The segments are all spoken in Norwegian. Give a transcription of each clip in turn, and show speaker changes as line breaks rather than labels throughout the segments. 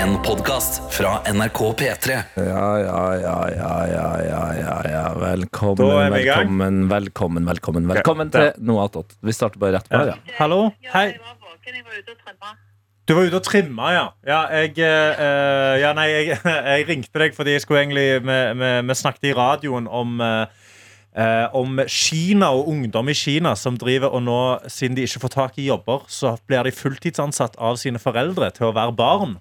En podkast fra NRK P3.
Ja, ja, ja, ja, ja, ja, ja, ja. Velkommen,
Da er vi i gang.
velkommen, velkommen, velkommen. Velkommen til noe attåt. Vi starter bare rett på her, ja.
Hallo?
Ja,
Hei.
jeg var våken, jeg var ute og trimma.
Du var ute og trimma, ja. Ja, jeg, eh, ja nei, jeg, jeg ringte deg fordi jeg skulle egentlig Vi, vi, vi snakket i radioen om eh, eh, om Kina og ungdom i Kina som driver og nå, siden de ikke får tak i jobber, så blir de fulltidsansatt av sine foreldre til å være barn.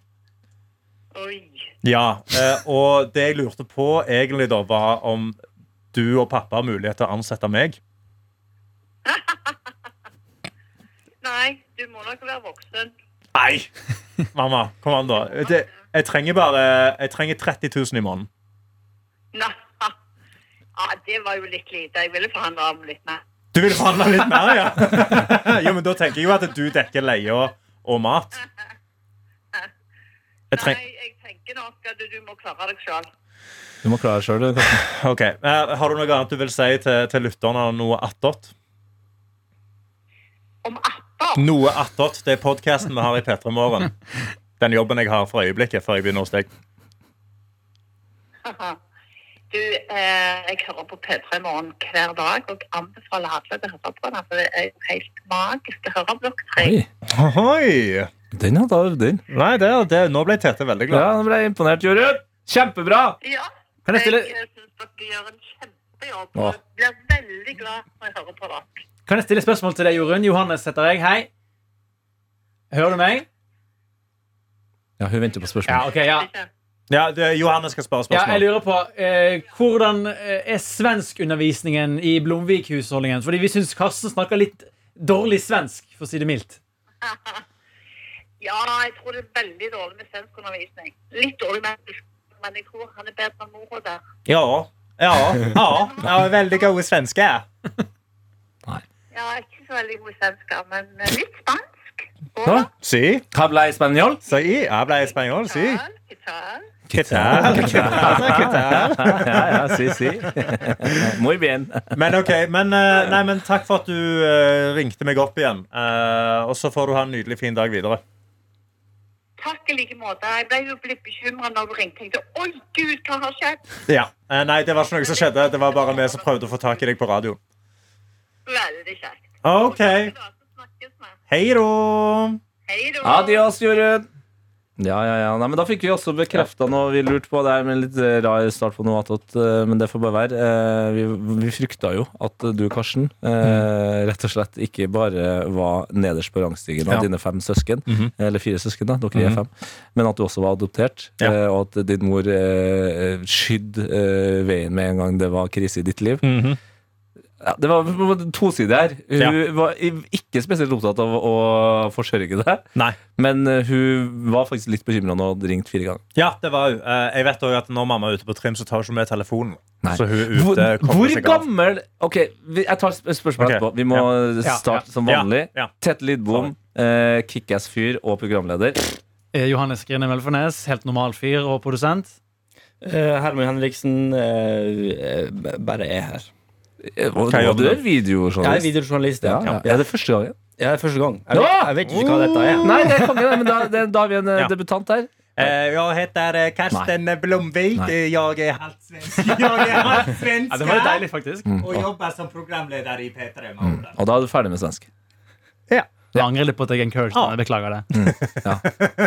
Oi.
Ja, eh, Og det jeg lurte på egentlig, da, var om du og pappa har mulighet til å ansette meg.
Nei, du må nok være voksen.
Nei! Mamma, kom an, da. Det, jeg trenger bare Jeg trenger 30 000 i måneden.
Nei. Ja, det var jo litt lite. Jeg ville forhandle om litt mer.
Du vil forhandle litt mer, ja? jo, men Da tenker jeg jo at du dekker leie og, og mat. Jeg treng...
Nei, jeg tenker nok at du må klare deg sjøl.
Du må klare sjøl, du. Karsten.
Ok, eh, Har du noe annet du vil si til, til lytterne? og Noe attåt?
Om atter.
Noe attåt. Det er podkasten vi har i P3 Morgen. Den jobben jeg har for øyeblikket, før jeg begynner hos deg.
Du, eh, jeg hører på P3 Morgen hver dag og anbefaler alle til å høre på den. For det er jo helt magisk å høre om dere tre.
Oi,
Ohoi.
den hadde jeg den.
Nei, det, det, Nå ble Tete veldig
Ja,
glad.
nå ble jeg imponert, Jorunn. Kjempebra!
Ja.
Kan jeg stille-
Jeg syns dere gjør en kjempejobb.
Åh.
og Jeg blir veldig glad når jeg hører på dere.
Kan jeg stille spørsmål til deg, Jorunn? Johannes heter jeg. Hei. Hører du meg?
Ja, hun venter på
Ja,
spørsmål.
ok, ja.
Ikke?
Ja, det, Johannes skal spørre
ja jeg
spørsmål.
lurer på eh, Hvordan eh, er svenskundervisningen i Blomvik-husholdningen? Fordi vi syns Karsten snakker litt dårlig svensk, for å si det mildt.
Ja, jeg tror det er veldig dårlig med svenskundervisning. Litt dårlig med men jeg tror han er bedre enn mora der.
Ja, ja, ja. ja veldig gode svenske.
Ja, jeg er ikke så veldig god i svensk, men eh, litt spansk. Og
Ja.
Si.
Habla español?
Si. Jeg ble spanjol. Si.
tal, i
Hva
tal.
tal? Hva tal?
Ja, ja, si, si. Muy bien.
Men ok, men, eh, nei, men takk for at du eh, ringte meg opp igjen. Eh, og så får du ha en nydelig fin dag videre.
Takk i like måte. Jeg ble jo litt bekymra når du ringte. Jeg tenkte oi, gud, hva har skjedd?
Ja. Eh, nei, det var ikke noe som skjedde. Det var bare vi som prøvde å få tak i deg på radioen.
Veldig kjekt.
OK.
Da snakkes vi.
Hei da.
Hei da.
Adios, Jorunn. Ja, ja, ja. Nei, men da fikk vi også bekrefta noe vi lurte på. Det er en litt eh, rar start på noe attåt, eh, men det får bare være. Eh, Vi, vi frykta jo at du, Karsten, eh, rett og slett ikke bare var nederst på rangstigen av
Mm. Ja.
dine fem søsken,
Mhm.
eller fire søsken, da, dere er
Mhm.
fem, men at du også var adoptert,
Ja.
eh, og at din mor eh, skydde eh, veien med en gang det var krise i ditt liv. Ja, det var det var tosidig her. Hun
Mhm. Ja.
var i- ikke spesielt opptatt av å forsørge deg.
Nei.
Men eh, hun var faktisk litt bekymra nå og hadde ringt fire ganger.
Ja, det var hun. Eh, jeg vet òg at når mamma er ute på trim, så tar hun ikke med telefonen.
Nei.
Så hun er ute,
Hvor,
kobler
hvor
seg av.
gammel Ok, vi, jeg tar sp- spørsmålet
Ok,
etterpå. Vi må
Ja,
starte som
ja,
vanlig.
ja.
Tete Lidbom, eh, kickass-fyr og programleder.
Eh, Johannes Grine Velfornes, helt normal fyr og produsent.
Eh, Herman Henriksen eh, eh, b- bare er her.
Eh, Og,
Hva gjør
og du
du?
er
Jeg er
videojournalist.
videojournalist.
Ja,
Ja.
ja.
Ja.
Er det første gangen?
Jeg er første gang. Jeg vet,
Ja!
jeg vet ikke hva dette er.
Nei, det kan vi, men da, det, da har vi en eh,
Ja.
debutant her.
Eh, jeg heter eh, Karsten Blomvik.
Nei.
Eh, Jeg er halvt svensk. Jeg er halvt svensk.
Ja, det var jo deilig, faktisk.
Og jobber som programleder i
Mm.
P3 Morgen.
Og da er du ferdig med svensk.
Jeg angrer litt på at jeg encouraged deg. Jeg Beklager det.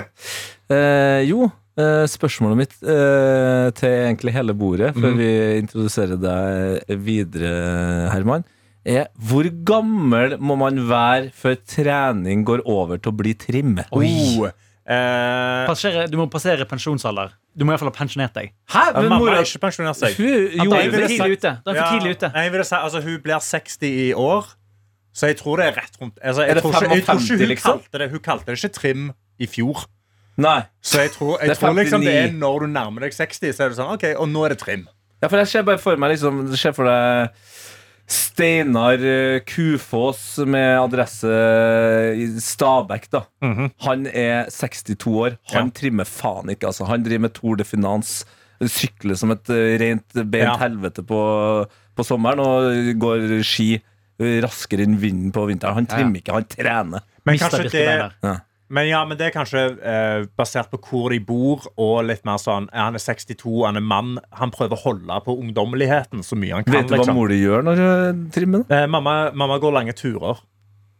Eh, jo, eh, spørsmålet mitt eh, til egentlig hele bordet,
Mm.
før vi introduserer deg videre, Herman, er hvor gammel må man være før trening går over til å bli trim?
Oh. Eh,
Passere, du må passere pensjonsalder. Du må iallfall ha pensjonert deg.
Hæ?
men
Men
mamma
mora
har ikke pensjonert seg.
Hun
Da er du
gjorde
for
det.
tidlig ute. Da er du
Ja,
for tidlig ute.
Nei, jeg vil si, altså, hun blir 60 i år, så jeg tror det er rett rundt altså, jeg
Er det
tror ikke, jeg tror
55,
ikke hun,
liksom?
kalte det, hun kalte det ikke trim i fjor.
Nei.
Så jeg tror, jeg
Det er
det tror liksom det er
59.
når du nærmer deg 60, så er det sånn OK, og nå er det trim.
Ja, for jeg ser bare for meg liksom ser for deg Steinar eh, Kufoss med adresse i Stabekk, da. Han er 62 år. Han
Mhm. Ja.
trimmer faen ikke, altså. Han driver med Tour de Finance. Sykler som et eh, rent
Ja.
bent helvete på, på sommeren og går ski raskere enn vinden på vinteren. Han trimmer ikke, han trener.
Men
Mister
kanskje det,
virkelig beina.
Men ja, men det er kanskje eh, basert på hvor de bor, og litt mer sånn eh, Han er 62, han er mann. Han prøver å holde på ungdommeligheten så mye han kan.
Vet du hva
liksom.
mor di gjør når du trimmer?
Eh, mamma, mamma går lange turer.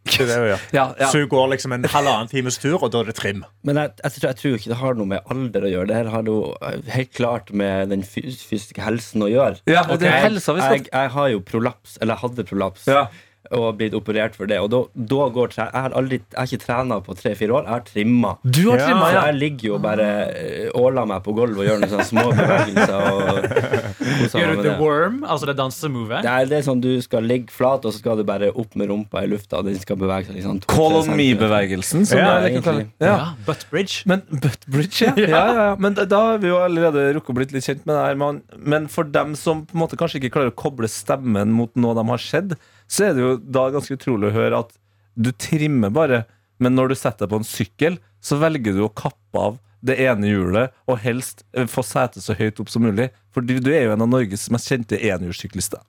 Det er det hun gjør.
Ja, ja.
Så hun går liksom en halvannen times tur, og da er det trim.
Men jeg, jeg, tror, jeg tror ikke det har noe med alder å gjøre. Det her har jo eh, helt klart med den fys- fysiske helsen å gjøre.
Ja, det er
Jeg-
helsa vi skal-
jeg, jeg har jo prolaps, eller jeg hadde prolaps,
Ja.
og blitt operert for det. Og da, da går tre, jeg, har aldri, jeg har ikke trena på tre-fire år. Jeg har trimma.
Du har
Ja.
trimma,
Så
Ah, ja.
jeg ligger jo og bare eh, åler meg på gulvet og gjør noen sånne små bevegelser. Og, koser meg
Gjør
med
du The
det.
Worm, altså det dansemovet?
Det er, det er sånn Du skal ligge flat, og så skal du bare opp med rumpa i lufta. Og den skal bevege seg liksom, to-
Call
tre
on
centimeter.
me-bevelgelsen. som
Ja,
jeg liker å kalle det.
egentlig.
Ja.
Ja, butt bridge.
Men Buttbridge, ja. ja, ja, ja. Men da- da har vi jo allerede rukket å blitt litt kjent med det her. Men, men for dem som på en måte kanskje ikke klarer å koble stemmen mot noe de har sett, så er det jo da ganske utrolig å høre at du trimmer bare, men når du setter deg på en sykkel, så velger du å kappe av det ene hjulet, og helst eh, få setet så høyt opp som mulig. For du, du er jo en av Norges mest kjente enhjulssyklister.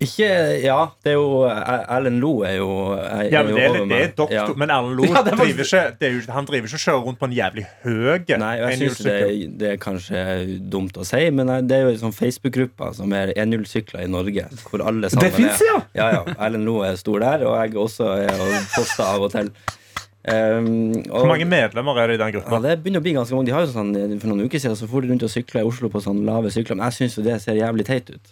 Ikke Ja, det er jo eh, Erlend Lo er jo er,
Ja, men
jo
det er,
over
litt- det er
meg.
doktor,
Ja.
men Erlend Loe
Ja, det var-
driver ikke det er jo, Han driver ikke og kjører rundt på en jævlig høy
Nei, og jeg synes det,
enhjulssykkel.
det er kanskje dumt å si, men eh, det er jo en sånn Facebook-gruppe som er enhjulssykler i Norge. Hvor alle sammen
Det finnes,
er
ja!
Ja, ja. Erlend Lo er stor der, og jeg også er og poster av og til. Um, og-
Hvor mange medlemmer er det i den gruppa?
Ja, det begynner å bli ganske mange. De har jo sånn, For noen uker siden så for de rundt og sykla i Oslo på sånn lave sykler, men jeg syns jo det ser jævlig teit ut.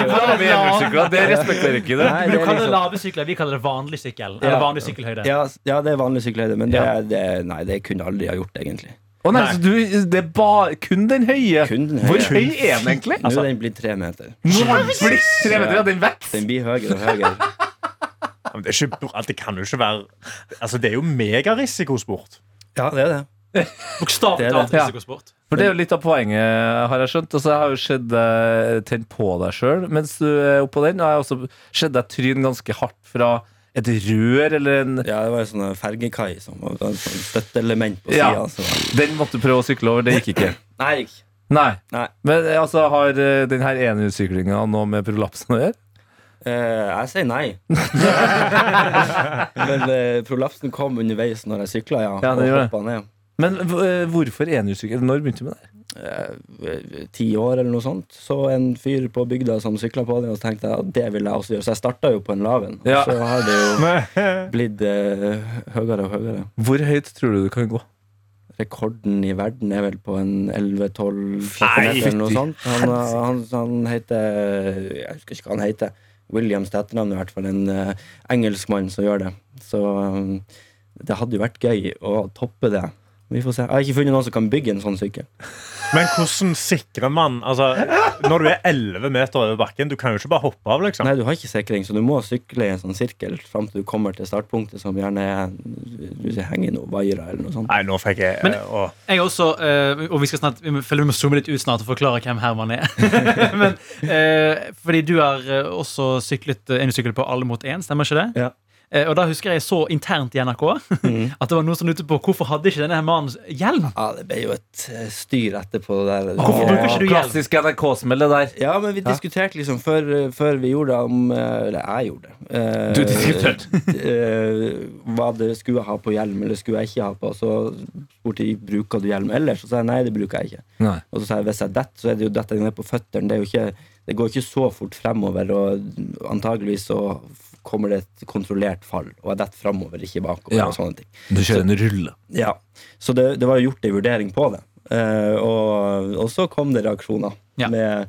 Det respekterer ikke det.
Du
Nei, det er
kaller det
liksom,
lave sykler, vi kaller det vanlig sykkel. Eller
Ja.
vanlig sykkelhøyde.
ja, s- ja, det er vanlig sykkelhøyde, men det,
Ja.
det, nei, det kunne jeg aldri ha gjort, egentlig.
Å nei, så du, det er bare kun den høye.
Kun den høye. Altså,
Hvor høy er den egentlig?
Nå er den blitt tre meter.
Nå har den blitt tre meter, ja, den vokser!
Den blir høyere og høyere.
Ja, men Det, er ikke, bra- det kan jo ikke være Altså, det er jo megarisikosport.
Ja, det er det. Det
Bokstavelig
er det.
talt risikosport.
For det er jo litt av poenget, har jeg skjønt. Altså, jeg har jo sett deg tent på deg sjøl mens du er oppå den. Og jeg har også sett deg tryn ganske hardt fra et rør eller en
Ja, det var jo sånn fergekai som var et sånn støtteelement på sida.
Ja.
Så.
Den måtte du prøve å sykle over, det gikk ikke.
Nei, ikke.
Nei.
Nei.
Men eh, altså, har eh, den her enhjulssyklinga noe med prolapsen å gjøre?
Eh, jeg sier nei. Men eh, prolapsen kom underveis når jeg sykla, ja.
Ja, det
og
gjorde det.
hoppa ned.
Men eh, hvorfor enhjulssykling? Når begynte du med det?
eh, ti år eller noe sånt, så en fyr på bygda som sykla på den, og så tenkte jeg at det vil jeg også gjøre. Så jeg starta jo på en laven, og
Ja.
så har det jo blitt eh, høyere og høyere.
Hvor høyt tror du du kan gå?
Rekorden i verden er vel på en 11-12
Nei,
meter eller noe sånt. Han, han, han heter Jeg husker ikke hva han heter. Williams til etternavn, i hvert fall. En eh, engelskmann som gjør det. Så eh, det hadde jo vært gøy å toppe det. Vi får se. Jeg har ikke funnet noen som kan bygge en sånn sykkel.
Men hvordan sikrer man Altså, når du er 11 meter over bakken, du kan jo ikke bare hoppe av, liksom.
Nei, du har ikke sikring, så du må sykle i en sånn sirkel fram til du kommer til startpunktet, som gjerne er du ser, henger i noen vaiere eller noe sånt.
Nei, nå fikk jeg
Men-
eh, å.
Jeg er også, eh, og vi skal snart, vi må- føler vi må zoome litt ut snart og forklare hvem Herman er. Men, eh, fordi du har eh, også syklet eh, en sykkel på Alle mot én, stemmer ikke det?
Ja. Mm.
Eh, og da husker jeg så internt i NRK at det var noen som lurte på hvorfor hadde ikke denne her mannen hjelm?
Ja, det ble jo et eh, styr etterpå det der.
Hvorfor bruker ikke du hjelm?
Klassisk NRK-smell, det der.
Ja, men vi diskuterte liksom før, før vi gjorde det om eh, Eller jeg gjorde det. eh,
Du diskuterte.
eh, hva det skulle jeg ha på hjelm, eller skulle jeg ikke ha på. Så spurte de bruker du hjelm ellers, og så sa jeg nei, det bruker jeg ikke.
Nei.
Og så sa jeg hvis jeg detter, så er det jo dette ned på føttene. Det, er jo ikke, det går ikke så fort fremover, og antageligvis så f- kommer det et kontrollert fall. Og jeg detter fremover, ikke bakover.
Ja.
og sånne ting.
Du kjører en rulle.
Ja. Så det, det var jo gjort en vurdering på det. Eh, og, og så kom det reaksjoner.
Ja.
Med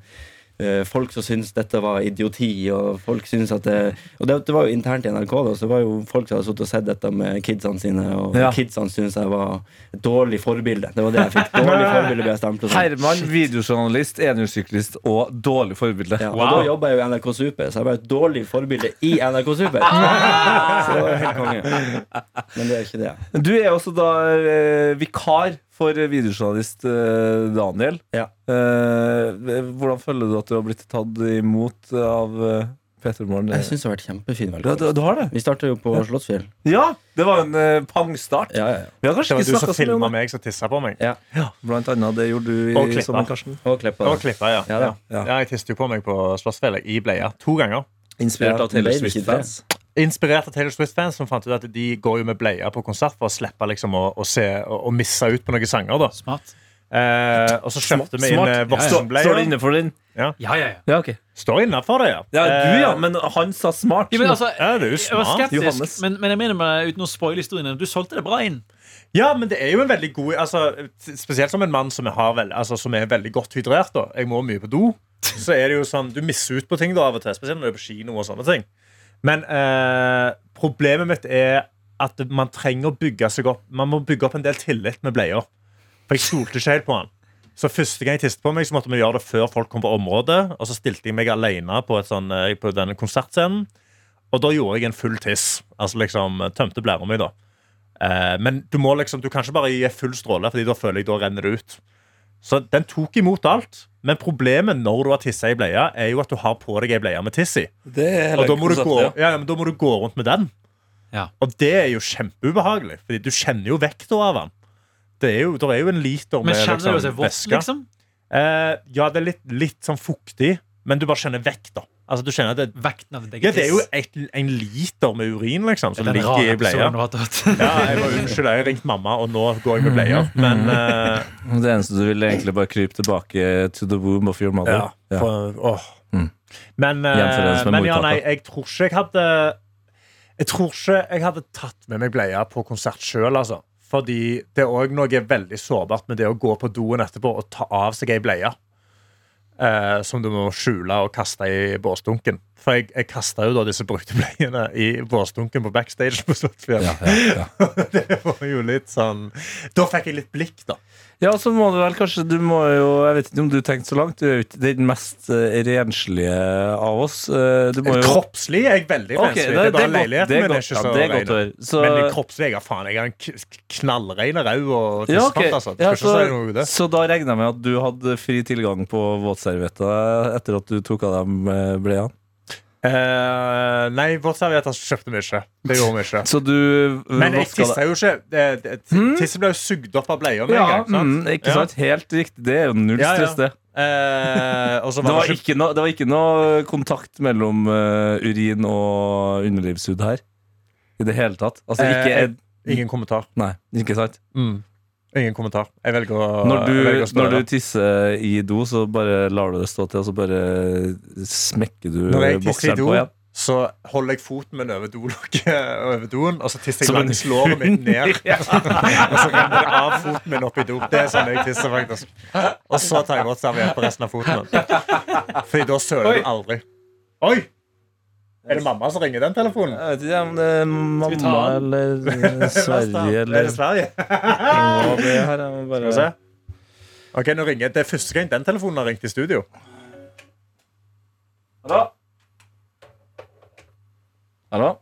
eh, folk som syntes dette var idioti, og folk syntes at det, Og det, det var jo internt i NRK, da, så det var jo folk som hadde sittet og sett dette med kidsene sine, og
Ja.
kidsene syntes jeg var et dårlig forbilde. Det var det jeg fikk. Dårlig forbilde ble jeg stemplet som.
Herman, videojournalist, enhjulssyklist og dårlig forbilde.
Ja,
Wow.
Og da jobba jeg jo i NRK Super, så jeg var et dårlig forbilde i NRK Super. så det var helt konge. Men det er ikke det.
Du er også da eh, vikar for videojournalist eh, Daniel.
Ja.
Eh, hvordan føler du at du har blitt tatt imot av eh, Peter Morgen?
Jeg syns det har vært kjempefin
Ja,
velkomst.
du, du har det?
Vi starta jo på Slottsfjell.
Ja! Det var en eh, pangstart.
Ja, ja, ja.
Vi har
Det
kanskje
var
ikke
du som
snakka så mye
filma
om det.
meg som tissa på meg.
Blant annet det gjorde du
Og
i
klippa.
sommer, Karsten.
Og Kleppa.
Og klippa, ja.
Ja, da.
Ja, jeg tiste jo på meg på Slottsfjellet i bleia to ganger.
Inspirert
Ja,
av Taylor
ble det ikke
Swift-fans.
Inspirert av Taylor Swift-fans som fant ut at de går jo med bleier på konsert for å slippe liksom å, å, se, å, å misse ut på noen sanger. da
Smart.
eh, Og så kjøpte vi inn eh,
Står
voksenbleier.
det innenfor den?
Ja, ja, ja.
Ja, ok.
Står innafor det, ja.
Ja, du, ja,
Eh,
men han sa smart.
ja men altså,
ja, det er jo
jeg var
smart.
Johannes.
skeptisk, men, men jeg mener med, uten å spoile historien din, du solgte det bra inn.
Ja, men det er jo en veldig god altså, Spesielt som en mann som, har vel, altså, som er veldig godt hydrert. Da. Jeg må mye på do. Så er det jo sånn, Du misser ut på ting da av og til, spesielt når du er på kino. og sånne ting Men eh, problemet mitt er at man trenger å bygge seg opp Man må bygge opp en del tillit med bleier. For jeg stolte ikke helt på han. Så første gang jeg tiste på meg, så måtte vi gjøre det før folk kom på området. Og så stilte jeg meg alene på, et sånn, eh, på denne konsertscenen. Og da gjorde jeg en full tiss. Altså liksom tømte blæra mi, da. Eh, men du må liksom, du kan ikke bare gi full stråle, Fordi da føler jeg da renner det ut. Så den tok imot alt. Men problemet når du har tissa i bleia, er jo at du har på deg ei bleie med tiss i.
Det er
Og
hele
da må, du gå,
konseptet, ja.
ja, ja, men da må du gå rundt med den.
Ja.
Og det er jo kjempeubehagelig, Fordi du kjenner jo vekta av den. Det er jo, der er jo en liter
Men
med
kjenner du
liksom,
deg våt,
væske.
liksom?
Eh, ja, det er litt, litt sånn fuktig, men du bare kjenner vekt, da. Altså, du kjenner at det,
Vekten av ditt
ja,
eget
det er jo
tiss.
et, en liter med urin, liksom, som
Den
ligger
rare
i bleia.
episoden du har tatt.
Ja, jeg må unnskylde, jeg har ringt mamma, og nå går jeg med bleier. Men eh,
Det eneste du vil, er egentlig bare krype tilbake to the womb of your mother.
ja, Mhm. for, åh.
Mm.
Men, eh,
Gjenforenes med
men ja,
morkaka.
nei, jeg tror ikke jeg hadde Jeg tror ikke jeg hadde tatt med meg bleier på konsert sjøl, altså. Fordi det er òg noe veldig sårbart med det å gå på doen etterpå og ta av seg ei bleie. eh, som du må skjule og kaste i båsdunken. For jeg, jeg kasta jo da disse brukte bleiene i båsdunken på backstage på Slottsfjell. det var jo litt sånn Da fikk jeg litt blikk, da.
Ja, så må du vel kanskje Du må jo, jeg vet ikke om du tenkte så langt Du er jo ikke den mest eh, renslige av oss Eh, Du må jo
Kroppslig er jeg veldig
Ok,
renslig. Det er bare leiligheten
det er
min er
godt,
ikke
ja,
så
det er godt å
ren.
høre så,
Men jeg kroppslig jeg har faen, jeg har en k- k- knallrein rau og
ja, ok.
tissefant, altså.
ja,
Skal ikke
så,
si noe om det.
så da regner jeg med at du hadde fri tilgang på våtservietter Etter at du tok av dem eh, bleia
Eh, nei, våtservietter kjøpte vi ikke. Det gjorde vi ikke.
Så du eh,
Men jeg
vasket
tissa jo ikke. eh, t- Tisset ble jo sugd opp av bleia med
ja,
en gang. Sant?
mm, ikke sant? Helt riktig, det er jo null
Ja, ja.
stress det
Eh, og så
det
var
var,
det ikke
ikke noe, det var ikke noe kontakt mellom eh, urin og underlivshud her I det hele tatt Altså ikke,
Eh, Ingen kommentar. Hmm.
nei, ikke sant
Ingen kommentar. Jeg velger å,
Når
jeg velger å
du,
spørre.
når du tisser i do, så bare lar du det stå til, og så bare smekker du
Når jeg tisser i
bokseren
do,
på igjen.
så holder jeg foten min over dolokket og over doen, og så tisser jeg
Som en
langs låret mitt ned. og så renner det av foten min opp i do. Det er sånn jeg tisser, faktisk. Og så tar jeg godt serviett på resten av foten min. Fordi da søler du aldri. Oi! Er det mamma som ringer den telefonen?
Jeg vet ikke om det
vi
er mamma
ta
eller Sverige
Er
eller
det Sverige?
hva det er her. Jeg
Skal
må
vi
bare
se. Ok, nå ringer Det er første gang den telefonen har ringt i studio.
Hallo? Hallo?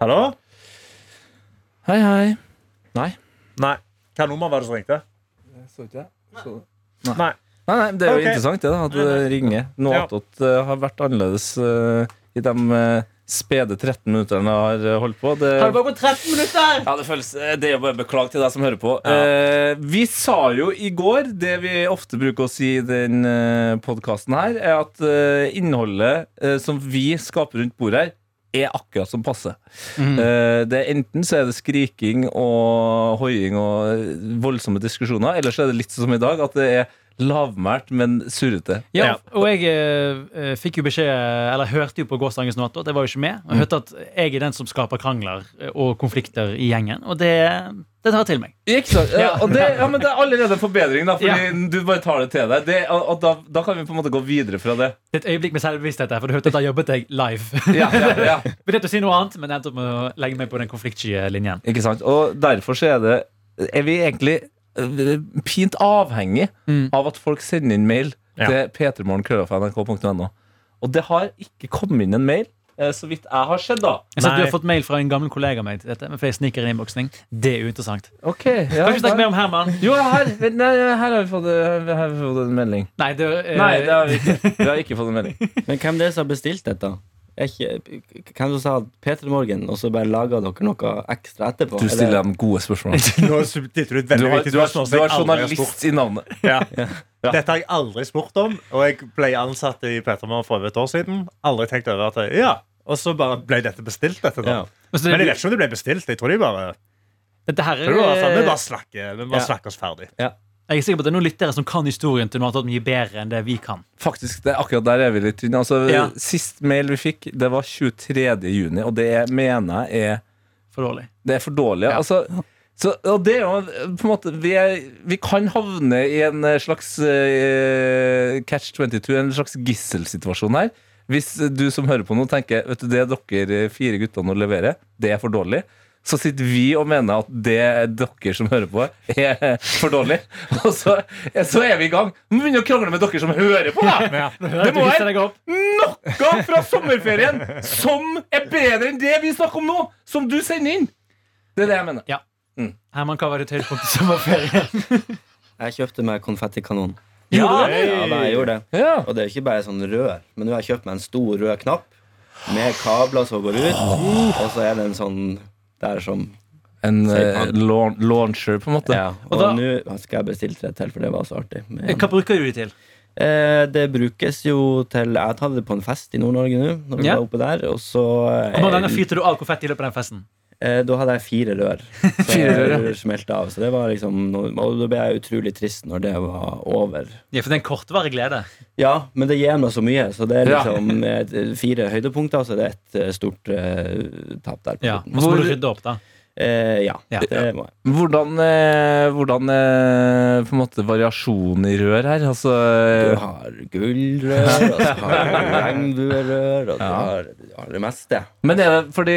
Hallo?
Hei, hei.
Nei. Hva nummer var det som ringte? Nei.
Nei, nei, det er jo
Ok.
interessant det, da, at det ringer. Noe
Ja.
attåt eh, har vært annerledes eh, i de eh, spede 13 minuttene jeg har eh, holdt på. Det,
Har det bare gått 13 minutter?
Ja, det, føles, eh, det er jo bare beklag til deg som hører på. Eh, vi sa jo i går, det vi ofte bruker å si i den eh, podkasten her, er at eh, innholdet eh, som vi skaper rundt bordet her, er akkurat som passe. Eh, det er enten så er det skriking og hoiing og voldsomme diskusjoner, eller så er det litt som i dag, at det er lavmælt, men surrete.
Ja, og jeg eh, eh, fikk jo beskjed, eller hørte jo på gårsdagens natt, det var jo ikke med. Og jeg hørte at jeg er den som skaper krangler eh, og konflikter i gjengen, og det, det tar jeg til meg.
Ikke sant? Ja, og det, ja, men det er allerede en forbedring, da, fordi du bare tar det til deg. Det, og og da, da kan vi på en måte gå videre fra det.
Det er et øyeblikk med selvbevissthet her, for du hørte at da jobbet jeg live.
Ja, ja, ja.
Ville til å si noe annet, men endte opp med å legge meg på den konfliktsky linjen.
Ikke sant? Og derfor så er det Er vi egentlig eh, pint avhengig
Mm.
av at folk sender inn mail til p3morgen.nrk.no. Og det har ikke kommet inn en mail, eh, så vidt jeg har sett, da.
Jeg ser at du
Nei.
har fått mail fra en gammel kollega av meg til dette, men for jeg sniker i innboksning. Det er uinteressant.
Ok,
Kan ikke snakke mer om Herman.
Jo, her, nei, her har vi fått, eh, her har vi fått en melding.
Nei, det, eh,
Nei, det har vi ikke. Vi har ikke fått en melding.
Men hvem det er som har bestilt dette? Er ikke, hvem som sa P3 Morgen, og så bare laga dere noe ekstra etterpå?
Du
Eller-
stiller dem gode spørsmål.
Nå stilte du et
Du
veldig
har,
viktig
du har,
spørsmål.
du
som jeg
har
aldri har spurt.
journalist i navnet.
Ja. Dette har jeg aldri spurt om, og jeg ble ansatt i Petermann for over et år siden. Aldri tenkt over at jeg, ja, Og så bare ble dette bestilt. Dette, da.
Ja.
Men så
Men jeg
det-
vet ikke om det ble bestilt. Jeg tror de bare,
Dette her
jeg tror det var sånn, vi
er,
bare snakker, vi bare
Ja.
snakker oss ferdig.
jeg er sikker på at det er noen lyttere som kan historien til noe annet mye bedre enn det vi kan.
Faktisk, det er akkurat der er vi litt tynne. Altså,
Ja.
Sist mail vi fikk, det var 23. juni, og det jeg mener jeg er
For dårlig.
Det er for dårlig. Altså, så, og det er jo på en måte Vi, er, vi kan havne i en slags eh, catch 22, en slags gisselsituasjon her. Hvis du som hører på nå tenker Vet du det dere fire guttene nå leverer, det er for dårlig. Så sitter vi og mener at det dere som hører på, er for dårlig. Og så, så er vi i gang. Må begynne å krangle med dere som hører på, da! Det må være noe fra sommerferien som er bedre enn det vi snakker om nå, som du sender inn. Det er det jeg mener.
Herman, hva var ditt høydepunkt i sommerferien?
Jeg kjøpte meg konfettikanon.
Ja,
Ja, da, jeg gjorde det.
ja.
Og det er ikke bare sånn rør, men nå har jeg kjøpt meg en stor rød knapp med kabler som går ut, og så er det en sånn der som
En eh,
Sier
laun- launcher, på en måte.
ja. Og
da-
nå skal jeg bestille tre til, for det var så artig. Men-
Hva bruker du de til?
Eh, det brukes jo til Jeg tar det på en fest i Nord-Norge nå, når vi
Ja.
var oppe der, og så
Og Mange ganger
eh,
fyrte du av konfetti i løpet av den festen.
Eh, Da hadde jeg fire rør. Så
Fire rør, ja.
jeg smelte av. Så det var liksom noe- Og da ble jeg utrolig trist når det var over.
Ja, for det er en kortvarig glede.
Ja, men det gir meg så mye, så det er
Ja.
liksom eh, fire høydepunkter, så det er et eh, stort eh, tap der. på
Ja,
slutten.
Og så må
Hvor-
du rydde opp, da.
Eh, ja,
Ja.
det må jeg.
Hvordan, eh, hvordan eh, på en måte variasjon i rør her? Altså
Du
eh,
har gullrør, og så har du regnbuerør, og du har, du har det meste.
Men er det fordi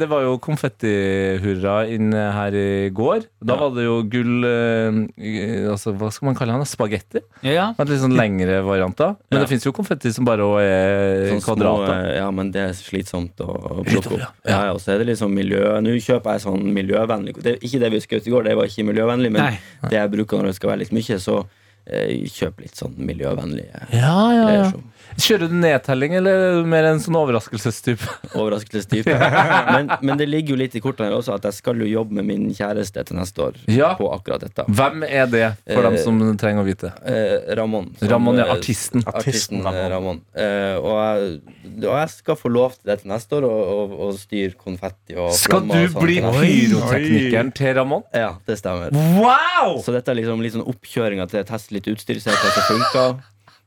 det var jo konfettihurra inn her i går. Da var det jo gull eh, altså, Hva skal man kalle han? Spagetti?
Ja, ja.
Med litt sånn lengre varianter. Men det fins jo konfetti som bare er
Sånn små,
kvadrater.
eh, Ja, men det er slitsomt å å
Litt
plukke
opp, ja.
opp. Ja, ja, og så er det liksom miljø Nå kjøper jeg sånn miljøvennlig det, Ikke det vi skjøt i går, det var ikke miljøvennlig, men
Nei.
det jeg bruker når det skal være litt mye, så eh, kjøp litt sånn miljøvennlig. eh,
Ja, ja, ja.
reaksjon.
Kjører du nedtelling, eller er du mer en sånn overraskelsestype?
Overraskelsestype. Men, men det ligger jo litt i kortene her også at jeg skal jo jobbe med min kjæreste til neste år
Ja.
på akkurat dette.
Hvem er det, for dem
Eh,
som trenger å vite?
Eh, Ramón. som,
Ramon er
eh,
artisten.
Artisten
Ramón.
eh, Ramón. Eh, og, jeg, og jeg skal få lov til det til neste år, og, og, og styre konfetti og
Skal
flammer
du
og sånt
bli
til neste år.
pyroteknikeren til Ramón?
Ja, det stemmer.
Wow!
Så dette er liksom litt sånn oppkjøringa til å teste litt utstyr, se hva som funker.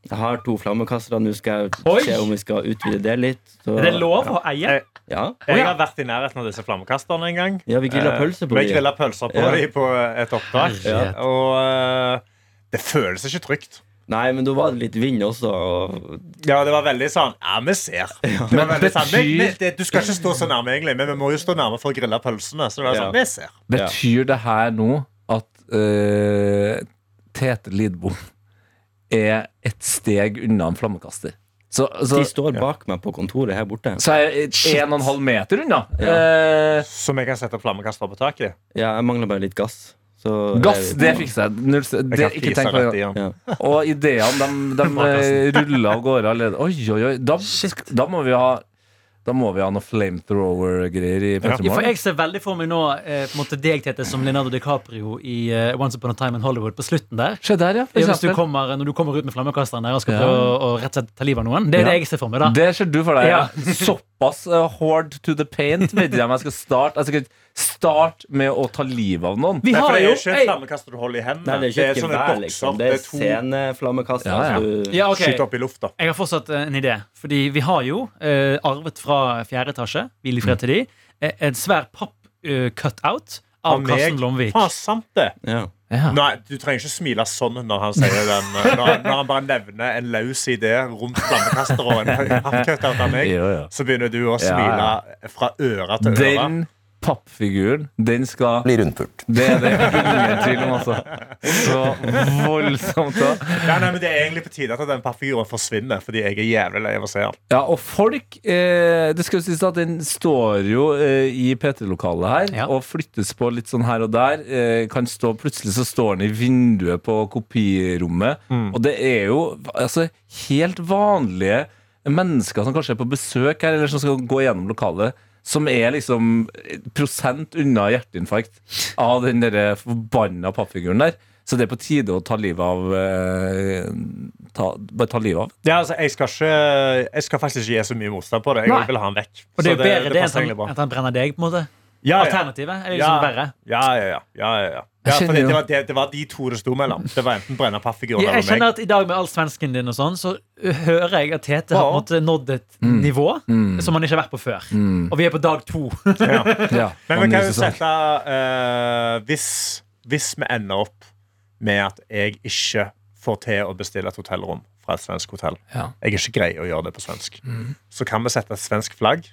Jeg har to flammekastere, nå skal jeg
Oi!
se om vi skal utvide det litt. Så,
Er det lov å
Eh,
eie?
Ja.
Jeg har vært i nærheten av disse flammekasterne en gang.
ja, vi grilla pølse på
Vi
dem.
grillet pølser på
Ja.
dem på et opptak.
Herlighet.
Og eh, det føles ikke trygt.
Nei, men da var det litt vind også. Og
Ja, det var veldig sånn Ja, vi ser. Det var
Men
veldig sånn,
betyr-
«Vi- vi- det, du skal ikke stå så nærme, egentlig, men vi må jo stå nærme for å grille pølsene. Så det var
Ja.
sånn, vi ser
Betyr det her nå at eh, Tete Lidbom er et steg unna en flammekaster? Så, så,
de står bak meg på kontoret her borte.
så er jeg en og en halv meter unna.
Ja.
Eh,
Som jeg kan sette flammekaster på taket i.
Ja, jeg mangler bare litt gass. Så
gass,
er vi på-
det fikser jeg. Null, s-
Jeg
det,
kan
ikke
fise
tenk på
rett i
det.
den.
Ja.
Og ideene, de, de eh, ruller av gårde allerede. Oi, oi, oi. Da, da må vi ha Da må vi ha noe flamethrower-greier i
Ja.
Ja, for
Petremorgen.
jeg ser veldig for meg nå eh, på en måte deg, Tete, som Leonardo DiCaprio i eh, Once Upon a Time in Hollywood på slutten der.
Se der, ja. for
Ja, hvis du
eksempel.
kommer, når du kommer ut med flammekasteren der og skal
Ja.
prøve å, å rett og slett ta livet av noen. Det
Ja.
er det jeg ser for meg, da.
Det ser du for deg, ja.
Ja.
Såpass eh, hard to the paint vet jeg om jeg skal starte. Jeg skal ikke starte med å ta livet av noen.
Vi
Nei, for
har
det er
jo
jo ikke et
ei-
flammekaster du holder i hendene.
Nei, det er ikke et
sånne
gevær,
bokser,
liksom. Det er
to
sceneflammekaster.
Ja, ja.
så du-
ja, ok.
skyter opp i lufta.
Jeg har fortsatt eh, en idé. Fordi vi har jo eh, arvet fra fjerde etasje, hvil
Mm.
i fred til de, eh, en svær papp-cut-out av
Av meg?
Karsten Blomvik.
Faen, sant det!
Ja.
Nei, du trenger ikke smile sånn når han sier den eh, Når, han- når han bare nevner en løs idé rundt flammekaster og en pappkøtt av meg,
Jo, jo.
så begynner du å
Ja,
smile
ja.
fra øre til øre.
Den pappfiguren, den skal Bli rundpult. Det er det ingen tvil om, altså. Så voldsomt. da
Nei, nei, men Det er egentlig på tide at den pappfiguren forsvinner, fordi jeg er jævlig lei av å se den.
Ja, og folk eh, Det skal jo sies at den står jo eh, i P3-lokalet her
Ja.
og flyttes på litt sånn her og der. Eh, kan stå, plutselig så står den i vinduet på kopirommet. Og det er jo altså, helt vanlige mennesker som kanskje er på besøk her, eller som skal gå gjennom lokalet, som er liksom prosent unna hjerteinfarkt av den der eh, forbanna pappfiguren der. Så det er på tide å ta livet av eh, ta, Bare ta livet av.
Ja, altså, jeg, skal ikke, jeg skal faktisk ikke gi så mye motstand på det. Jeg
Nei.
vil ha han vekk.
Og det er sånn-
Så
jo bedre det,
passer
enn
egentlig
at han-
bra.
at han brenner deg, på en måte.
Ja, ja.
Alternativet er liksom verre.
Ja, ja, ja. ja, ja, ja. ja
Jeg
for
kjenner
det,
jo-
det, var, det, det var de to det sto mellom. Det var enten Brenna Paffiguren
Jeg, jeg
eller
kjenner
meg.
at I dag med all svensken din og sånn, så hører jeg at Tete har på en måte nådd et
Mm.
nivå som han ikke har vært på før. Og vi er på dag to.
Ja,
Men
han
vi kan
nyser
jo
seg.
sette eh, hvis, hvis vi ender opp med at jeg ikke får til å bestille et hotellrom fra et svensk hotell
Ja. Mm.
Jeg er ikke grei å gjøre det på svensk. Så kan vi sette et svensk flagg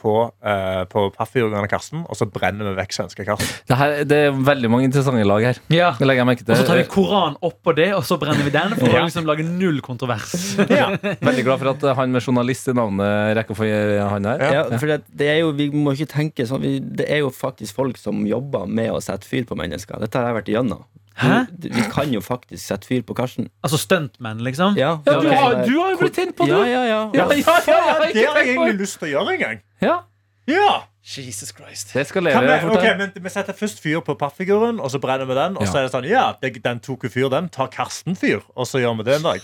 på, uh, på Paffiguren og Karsten, og så brenner vi vekk svenske Karsten.
det, her, det er veldig mange interessante lag her.
Ja.
Det legger jeg merke
Og så tar vi
til.
Koranen oppå det, og så brenner vi den. For å liksom lage null kontrovers.
Veldig glad for at eh, han med journalist i navnet rekker å få eh, han her.
Ja, for det, det er jo, vi må ikke tenke sånn vi, Det er jo faktisk folk som jobber med å sette fyr på mennesker. Dette har jeg vært igjennom.
Hæ?
Du- Vi kan jo faktisk sette fyr på Karsten.
Altså stuntmenn, liksom.
Ja,
du har- du har jo blitt tent på, du.
Ja, ja, ja.
Ja, ja, ja, ja, ikke
Det har jeg
tenk på det.
egentlig lyst til å gjøre en gang.
ja.
Ja!
Jesus Christ.
Det skal
Kan
leve
vi,
fort
ok,
her.
men vi setter først fyr på pappfiguren, og så brenner vi den. Og så
Ja.
er det sånn, ja, det- den tok jo fyr, den. Tar Karsten fyr? Og så gjør vi det en dag.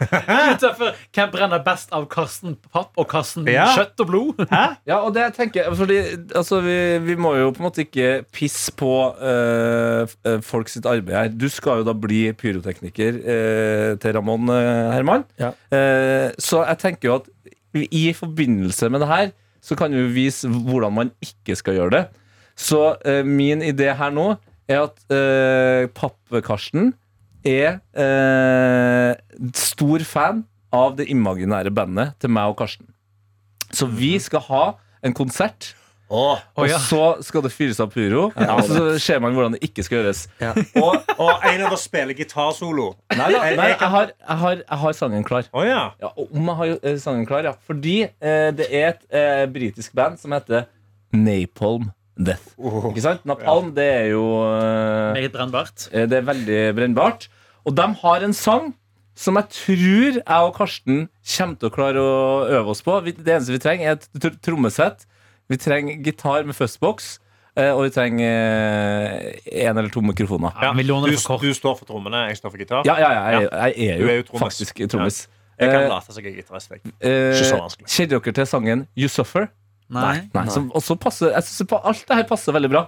Utenfor, hvem brenner best av Karsten Papp og Karsten
Ja.
Kjøtt og Blod?
Ja, og det jeg tenker fordi, altså, vi, vi må jo på en måte ikke pisse på eh, f- eh, folk sitt arbeid her. Du skal jo da bli pyrotekniker eh, til Ramón eh, Herman.
Ja.
Eh, så jeg tenker jo at i forbindelse med det her, så kan vi jo vise hvordan man ikke skal gjøre det. Så eh, min idé her nå er at eh, Papp-Karsten er eh, stor fan av det imaginære bandet til meg og Karsten. Så vi skal ha en konsert,
Åh.
Mhm. Å, ja.
og så skal det fyres av pyro. og så ser man hvordan det ikke skal gjøres.
Og, og en av oss spiller gitarsolo.
Nei, nei, jeg, har, jeg, har, jeg har sangen klar.
Å ja.
Ja, og om jeg har eh, sangen klar, ja. Fordi eh, det er et eh, britisk band som heter Napalm Death.
Oh.
Ikke sant? Napalm, det er jo eh,
Meget brennbart.
Eh, Det er veldig brennbart. Og de har en sang som jeg tror jeg og Karsten kommer til å klare å øve oss på. Vi- Det eneste vi trenger, er et tr- trommesett. Vi trenger gitar med fuzzbox. eh, Og vi trenger én eller to mikrofoner.
Ja, vi låner
Du,
det for kort.
du står for trommene, jeg står for gitar.
Ja, ja, ja jeg, jeg er jo,
Du er jo trommis.
faktisk trommis.
Jeg kan
Eh,
late som jeg er gitarist. jeg.
eh,
Ikke så vanskelig.
Kjenner dere til sangen You Suffer?
Nei.
Nei. Som også passer, jeg synes pa- alt det her passer veldig bra.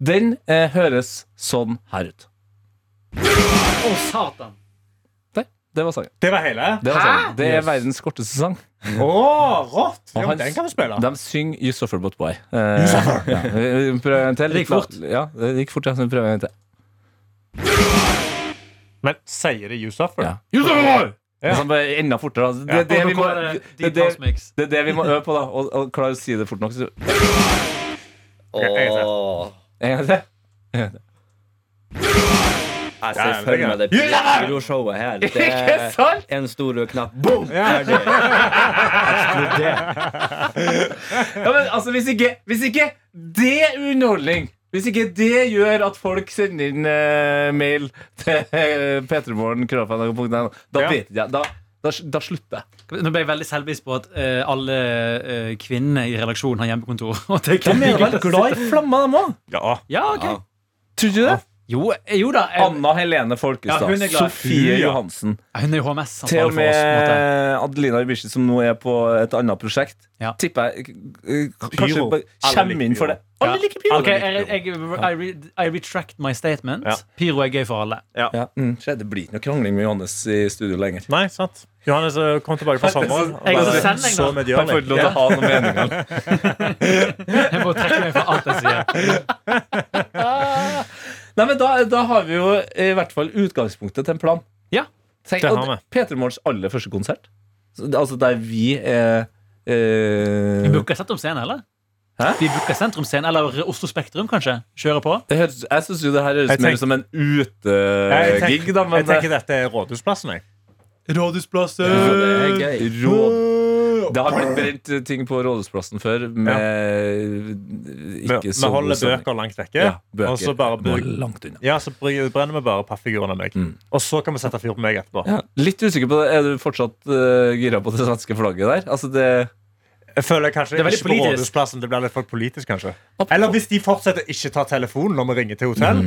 Den eh, høres sånn her ut.
Å, satan.
Der. Det var sangen.
Det var hele?
Det, var sangen. det er verdens korteste sang.
Å, rått!
Og
Ja, men
han-
den kan vi spille.
De synger You Suffer But Why. Eh, ja. vi- vi prøver en til.
Det gikk fort.
Ja, det gikk fort, ja. Så vi prøver en til.
Men sier det You Suffer?
Ja. You Suffer But Why! Og så bare enda fortere. altså. Det er det vi må, det er
Deep House
det,
Mix.
det er det vi må øve på, da. Og, og klare å si det fort nok. Så.
Jeg- jeg-
Åh.
En gang til.
Ja,
Jeg ser
men
for
det er
meg det pyroshowet her. Det
Ikke
er
sant?
en stor rød knapp. Boom!
Ja.
Ja, men altså, hvis ikke, hvis ikke det er underholdning hvis ikke det gjør at folk sender inn eh, mail til uh, p3morgen.no, da
Ja.
vet jeg da, da, da slutter jeg.
Nå ble jeg veldig selvbevisst på at eh, alle eh, kvinnene i redaksjonen har hjemmekontor. Og det kan
De er vel glad i flammer, de òg?
Ja.
Ja, ok.
Tror du ikke det?
Jo, eh, jo da. eh,
Anna Helene
Ja,
Folkestad.
hun er glad.
Sofie
Hun, ja.
Johansen.
Hun er jo HMS.
Til og
ansvarlig
med
for oss, på en måte.
Adelina Ibishi, som nå er på et annet prosjekt,
Ja.
tipper jeg eh, kanskje
Pyro.
bare
Alle
kommer
liker
inn for
pyro.
det. Alle liker pyro!
Ok, jeg, jeg, I, re, I retract my statement.
Ja.
Pyro er gøy for alle.
Ja, mm, se, det blir ikke noe krangling med Johannes i studio lenger.
Nei, sant. Johannes eh, kom tilbake fra sommeren. og
Jeg
bare
også sender jeg
så
nå.
Han får
medgjørlig.
ikke lov til å ha noen meninger.
Jeg må trekke meg fra alt jeg sier.
Nei, men da, da har vi jo i hvert fall utgangspunktet til en plan.
Ja,
Tenk,
det har vi.
P3 Morgens aller første konsert. Så det- Altså der vi er eh,
Vi booker Sentrum Scene, eller?
Hæ?
Vi booker Sentrum Scene, eller Oslo Spektrum, kanskje? Kjører på?
det høres, Jeg syns jo det her høres
Jeg
mer
tenk-
ut som en
Jeg tenker-
utegig, da. Men eh,
Jeg tenker dette er Rådhusplassen, jeg.
Så
Rådhusplasset!
det er
Øh,
gøy.
Råd Det har blitt brent ting på Rådhusplassen før med
Vi,
ikke
vi
så god
holder
stemning.
bøker langt vekke,
Ja, bøker.
og så bare
Må
bøker.
langt unna.
Ja, så bry- brenner vi bare pappfiguren av meg.
Mm.
Og så kan vi sette fyr på meg etterpå.
øh, Litt usikker på det. Er du fortsatt eh, gira på det svenske flagget der? Altså det
Jeg føler kanskje
Det er veldig
ikke på
politisk.
rådhusplassen. Det blir litt for politisk, kanskje. Eller hvis de fortsetter å ikke ta telefonen når vi ringer til hotell.
Mm.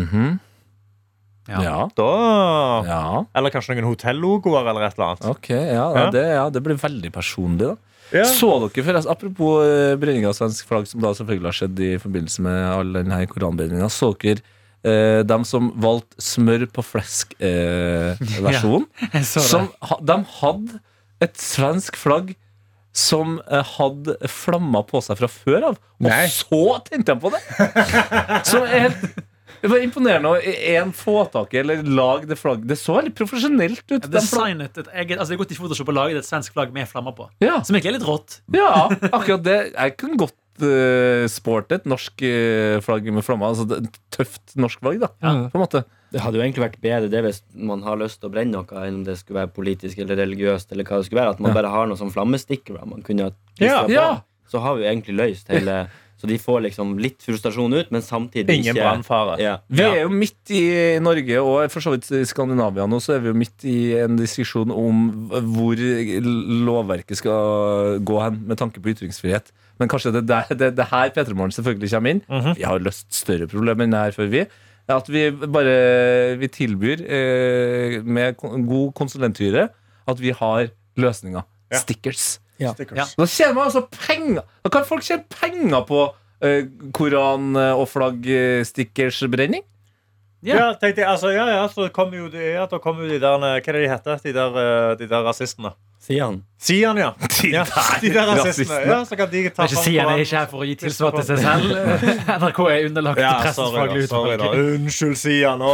Ja.
Mhm. Ja.
Da
ja.
Eller kanskje noen hotellogoer eller et eller annet.
Ok, ja, ja,
Ja.
det, ja, det blir veldig personlig, da.
Ja.
Så dere forresten, apropos eh, brenning av svensk flagg, som da selvfølgelig har skjedd i forbindelse med all denne koranbrenninga, så dere eh, dem som valgte smør på flesk-versjonen?
Jeg så det.
som ha- De hadde et svensk flagg som eh, hadde flamma på seg fra før av. Og
Nei.
så tenkte jeg på det! Som er helt det var imponerende å i en få tak i eller lage det flagget. Det så veldig profesjonelt ut. den flaggen.
Designet et eget, altså det er gått i Photoshop og laget et svensk flagg med flammer på.
ja.
Som egentlig er litt rått.
Ja, akkurat det. Jeg kunne godt eh, sporte et norsk eh, flagg med flammer. Altså det- et tøft norsk flagg, da. På en måte.
Det hadde jo egentlig vært bedre det hvis man har lyst til å brenne noe, enn om det skulle være politisk eller religiøst. eller hva det skulle være, At man bare har noe som flammestikker. da. Man kunne ha
Ja,
klistra på.
ja.
Så har vi jo egentlig løst hele Så de får liksom litt frustrasjon ut, men samtidig
Ingen
ikke
brannfare.
Ja.
Vi er jo midt i Norge, og for så vidt i Skandinavia nå, så er vi jo midt i en diskusjon om hvor lovverket skal gå hen med tanke på ytringsfrihet. Men kanskje det er det, det her P3 Morgen selvfølgelig kommer inn. Vi har løst større problemer enn det her før, vi. At vi bare vi tilbyr, eh, med kon- god konsulenthyre, at vi har løsninger.
Ja.
Stickers.
Stickers.
Da tjener man altså penger! Da kan folk tjene penger på eh, koran- og flagg-stickers-brenning.
Ja. tenkte jeg, altså, ja, ja, så kommer jo de, ja, da kommer jo de der eh, Hva er det de heter? De der, eh, de der rasistene.
Sier han.
Sian, ja. ja. De der rasistene.
rasistene.
Ja, så kan de ta
Jeg vil ikke si han er ikke her for å gi tilsvar til seg selv. NRK er underlagt
Ja,
pressens
sorry, da,
faglige
sorry da.
utvalg.
Unnskyld, Sian. Å,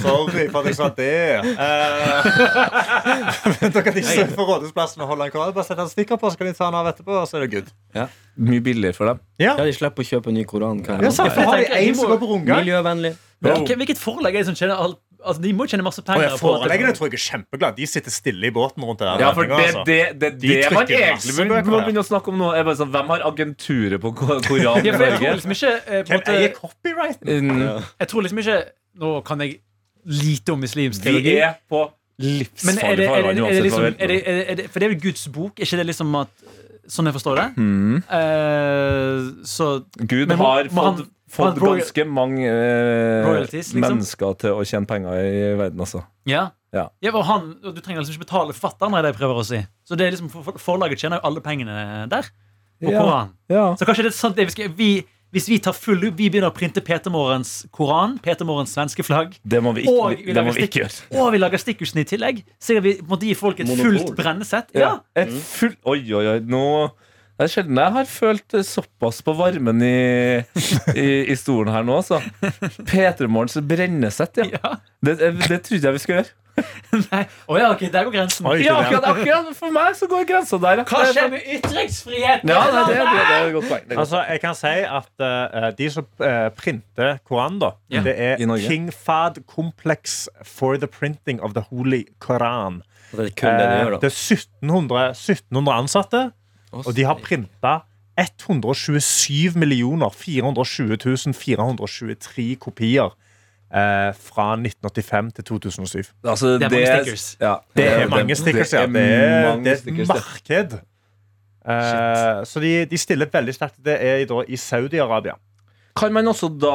sorry for at jeg sa det. Eh, men da kan de stå på Rådhusplassen og holde en kål. Bare sette en stikker på, så kan de ta den av etterpå, og så er det good.
mye billigere for dem.
Ja, de slipper å kjøpe en ny koran. hver
Ja,
måned.
sant, for har de
Jeg tenker,
en som
de må-
går på rundgang?
Miljøvennlig.
Men hvil- Hvilket forlag er det som tjener alt? Altså, de må tjene masse
Og
penger.
jeg
på at det-
foreleggene tror jeg er kjempeglad. De sitter stille i båten rundt der. altså.
Ja, for det
altså.
er det, det,
De
det, man
trykker
egentlig
masse
bør-
bøker,
må
ja.
begynne å snakke om nå. Er bare sånn, hvem har agenturet på ko- Koran i
Ja, for jeg tror
Norge?
liksom ikke eh, på en
Hvem eier
måte-
copyrighten?
Mm,
Jeg tror liksom ikke Nå kan jeg lite om muslimsk
Vi
teologi.
er på
Men er
livsfarlig
det, er det, er
farvann
det, er det
uansett
liksom
hva vi
er det,
gjør.
er det, er det, For det er jo Guds bok, er ikke det liksom at Sånn jeg forstår det?
Mm.
Eh, så
Gud
Men må-
har
må han-
fått,
må han
fått
royal-
ganske mange eh,
Royalties, liksom?
mennesker til å tjene penger i verden, altså.
Ja.
Ja.
og han, og du trenger liksom ikke betale forfatteren, er det jeg prøver å si. Så det er liksom, for- for- Forlaget tjener jo alle pengene der. På
Ja.
Koran.
Ja.
Så kanskje det er sant det vi skal, vi, Hvis vi tar full loop, vi begynner å printe Petermorens Koran, Petermorens svenske flagg,
Det må vi
Og
ikke,
vi
det må
lager
vi ikke
stikker.
gjøre.
og vi lager stikkhusene i tillegg, så gir vi på en måte gir folk et
Monopol.
fullt brennesett.
Ja.
Ja.
Et full, oi, oi, oi. Nå det er sjelden jeg har følt såpass på varmen i, i, i stolen her nå, altså. P3morgens brennesett, ja.
Ja.
Det, det trodde jeg vi skulle gjøre.
Nei. Å ja, ok, der går grensen.
Oi.
Ja, akkurat, akkurat For meg så går grensa der. ja.
Hva skjer med ytringsfriheten?
Ja, det, det, det, det er et godt poeng. Det er et godt.
Altså, jeg kan si at eh, de som eh, printer Koran, da,
Ja.
det
I
er
Norge.
King Fad Complex for the printing of the holy Koran.
Så det er kun det de gjør,
Eh, det
da.
er 1700, 1700 ansatte,
Å,
og de har
satan.
printa 127 420 423 kopier eh, fra 1985 til 2007.
Altså,
Det er mange stickers.
Ja,
Det er mange stickers, ja. Det er,
mange
det er et
stickers, det.
marked. Eh, så de, de stiller veldig sterkt. Det er da i Saudi-Arabia.
Kan man også da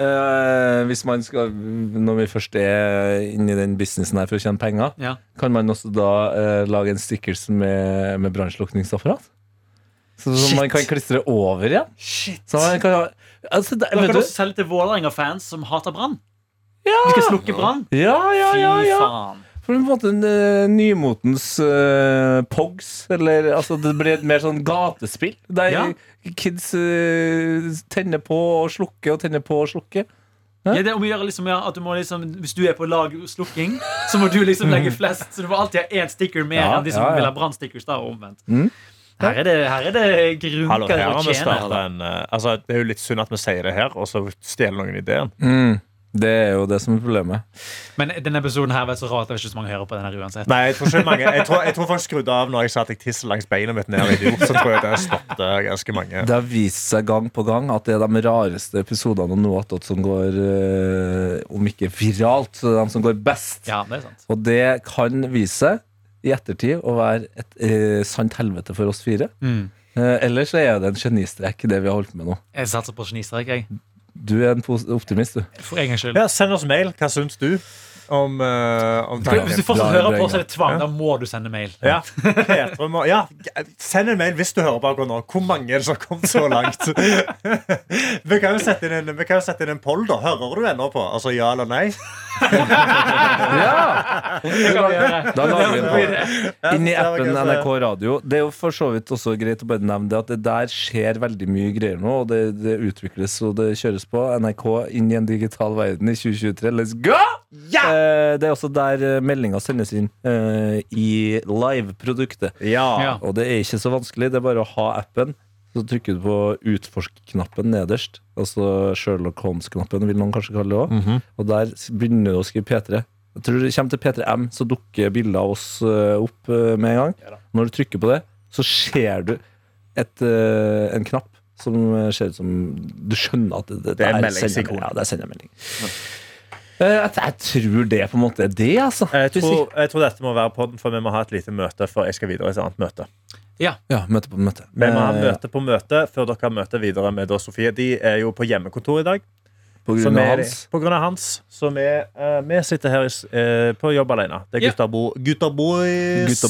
eh, hvis man skal, Når vi først er inni den businessen her for å tjene penger,
Ja.
kan man også da eh, lage en stickers med, med brannslukningsapparat? Så- Som man kan klistre over igjen?
Shit.
Så man kan, ha- altså, det,
Da kan
vet
du
du
også selge til Vålerenga-fans som hater brann. Du skal slukke brann?
Ja, ja, ja,
Fy
ja.
faen.
For det er på en måte en eh, nymotens eh, pogs, eller altså det blir et mer sånn gatespill, der
Ja.
kids eh, tenner på og slukker og tenner på og slukker.
Ja, det er om å gjøre liksom, ja, at du må liksom, Hvis du er på lag slukking, så må du liksom legge flest. Så du må alltid ha én sticker mer
Ja,
enn de som
ja, ja.
vil ha brannstickers. da, og omvendt.
Mm.
Her er det, her er det
Hallo, her
grunker
har
og
vi
tjener.
startet en eh, altså, Det er jo litt synd at vi sier det her, og så stjeler noen ideen.
Det er jo det som er problemet.
Men denne episoden her var så rar at det var ikke så mange hører på den her uansett.
Nei, jeg tror ikke mange Jeg tror, jeg tror folk skrudde av når jeg sa at jeg tisser langs beinet mitt ned i jord. Så tror jeg det stoppet ganske mange.
Det har vist seg gang på gang at det er de rareste episodene av Noe attåt som går, eh, om ikke viralt, så er de som går best.
Ja, det er sant.
Og det kan vise seg i ettertid å være et eh, sant helvete for oss fire. Eh, ellers så er det en genistrek, det vi har holdt på med nå.
Jeg satser på genistrek, jeg.
Du er en pos- optimist, du.
For en gangs skyld.
Ja, send oss mail. Hva syns du om, eh, om
Hvis du
tanken?
fortsatt
Bra,
hører på,
bra.
så er det tvang. Da må du sende mail.
Ja, Petra må, ja, send en mail hvis du hører på nå. Hvor mange er det som har kommet så langt? vi kan jo sette inn en, vi kan jo sette inn en poll, da. Hører du ennå på? Altså ja eller nei?
Det kan vi gjøre. Da lager vi en poll. Inni
det var
appen
gøy,
NRK Radio. Det er jo for så vidt også greit å bare nevne det at det der skjer veldig mye greier nå, og det, det utvikles og det kjøres på. NRK inn i en digital verden i 2023. Let's go! Eh, Det er også der meldinga sendes inn eh, i live-produktet.
Ja.
Og det er ikke så vanskelig, det er bare å ha appen. Så trykker du på utforsk-knappen nederst. Altså Sherlock Holmes-knappen, vil noen kanskje kalle det òg. Og der s- begynner du å skrive P3. Jeg tror det kommer til P3M, så dukker bilder av oss eh, opp eh, med en gang. Når du trykker på det, så ser du et, eh, en knapp som eh, ser ut som Du skjønner at det, det,
er en
der
meldingsikon.
sender- Ja, der sender jeg melding. Eh, Jeg, jeg tror det på en måte er det, altså.
Eh,
Jeg tror, jeg tror dette må være podden, for vi må ha et lite møte før jeg skal videre i et annet møte.
Ja, møte på møte.
Vi må ha
Eh,
møte på møte før dere har møte videre med da Sofie. De er jo på hjemmekontor i dag.
På
Så
grunn
vi,
av hans.
På grunn av hans. Så vi, eh, vi sitter her i s- eh, på jobb alene. Det er
Ja.
gutta, bo, gutta boys.
Gutta,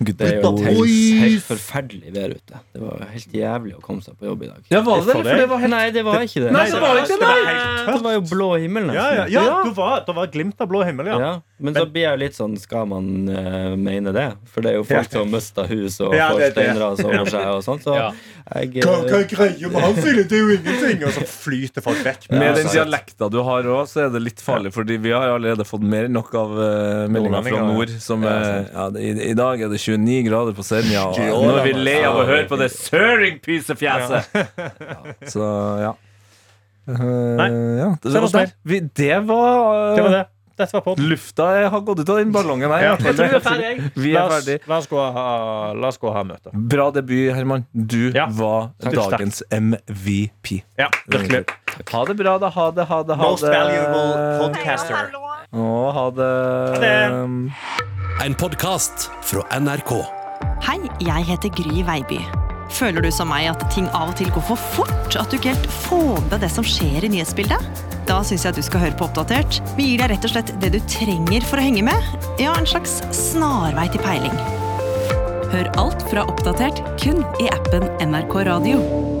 gutta
Det er jo
Gutta
helt,
boys!
helt forferdelig vær ute. Det var helt jævlig å komme seg på jobb i dag.
Ja, var det det?
For
For det var helt
Nei, det var ikke det.
Nei, så var det ikke det!
Det var jo blå himmel,
Ja, ja, ja, det var, det var glimt av blå himmel, ja.
Ja, men så blir jeg jo litt sånn Skal man eh, mene det? For det er jo folk som mister hus og
Ja,
får
det er det.
steinras over seg og sånn. Så
Ja.
jeg eh,
er greia med han, Silje? Det er jo ingenting! Og så flyter folk vekk. altså.
Med den
sant.
dialekta du har òg, så er det litt farlig. Fordi vi har allerede fått mer enn nok av eh, meldinger fra
Nordlendinger,
nord. Som, eh, ja, det- i, I dag er det 29 grader på Senja, og nå er vi lei av å høre på det søringpysefjeset! Så ja. Eh,
Nei.
ja. Det,
Send oss
var,
mail.
vi, det var, eh,
Det var det. Dette var podden.
Lufta jeg har gått ut av den ballongen her.
Ja.
i hvert fall.
Jeg tror vi er ferdig, jeg.
vi
La
er
oss,
ferdig.
la oss gå og ha, la oss gå og ha møte.
Bra debut, Herman. Du
Ja.
var
takk.
dagens MVP.
Ja, virkelig.
Ha det bra, da. Ha det, ha det, ha
Most
det.
valuable podcaster.
Hallo.
Å, ha det.
Ha
En podcast fra NRK.
Hei, jeg heter Gry Veiby. Føler du som meg at ting av og til går for fort? At du ikke helt får med det som skjer i nyhetsbildet? Da syns jeg at du skal høre på Oppdatert. Vi gir deg rett og slett det du trenger for å henge med. Ja, en slags snarvei til peiling. Hør alt fra Oppdatert kun i appen NRK Radio.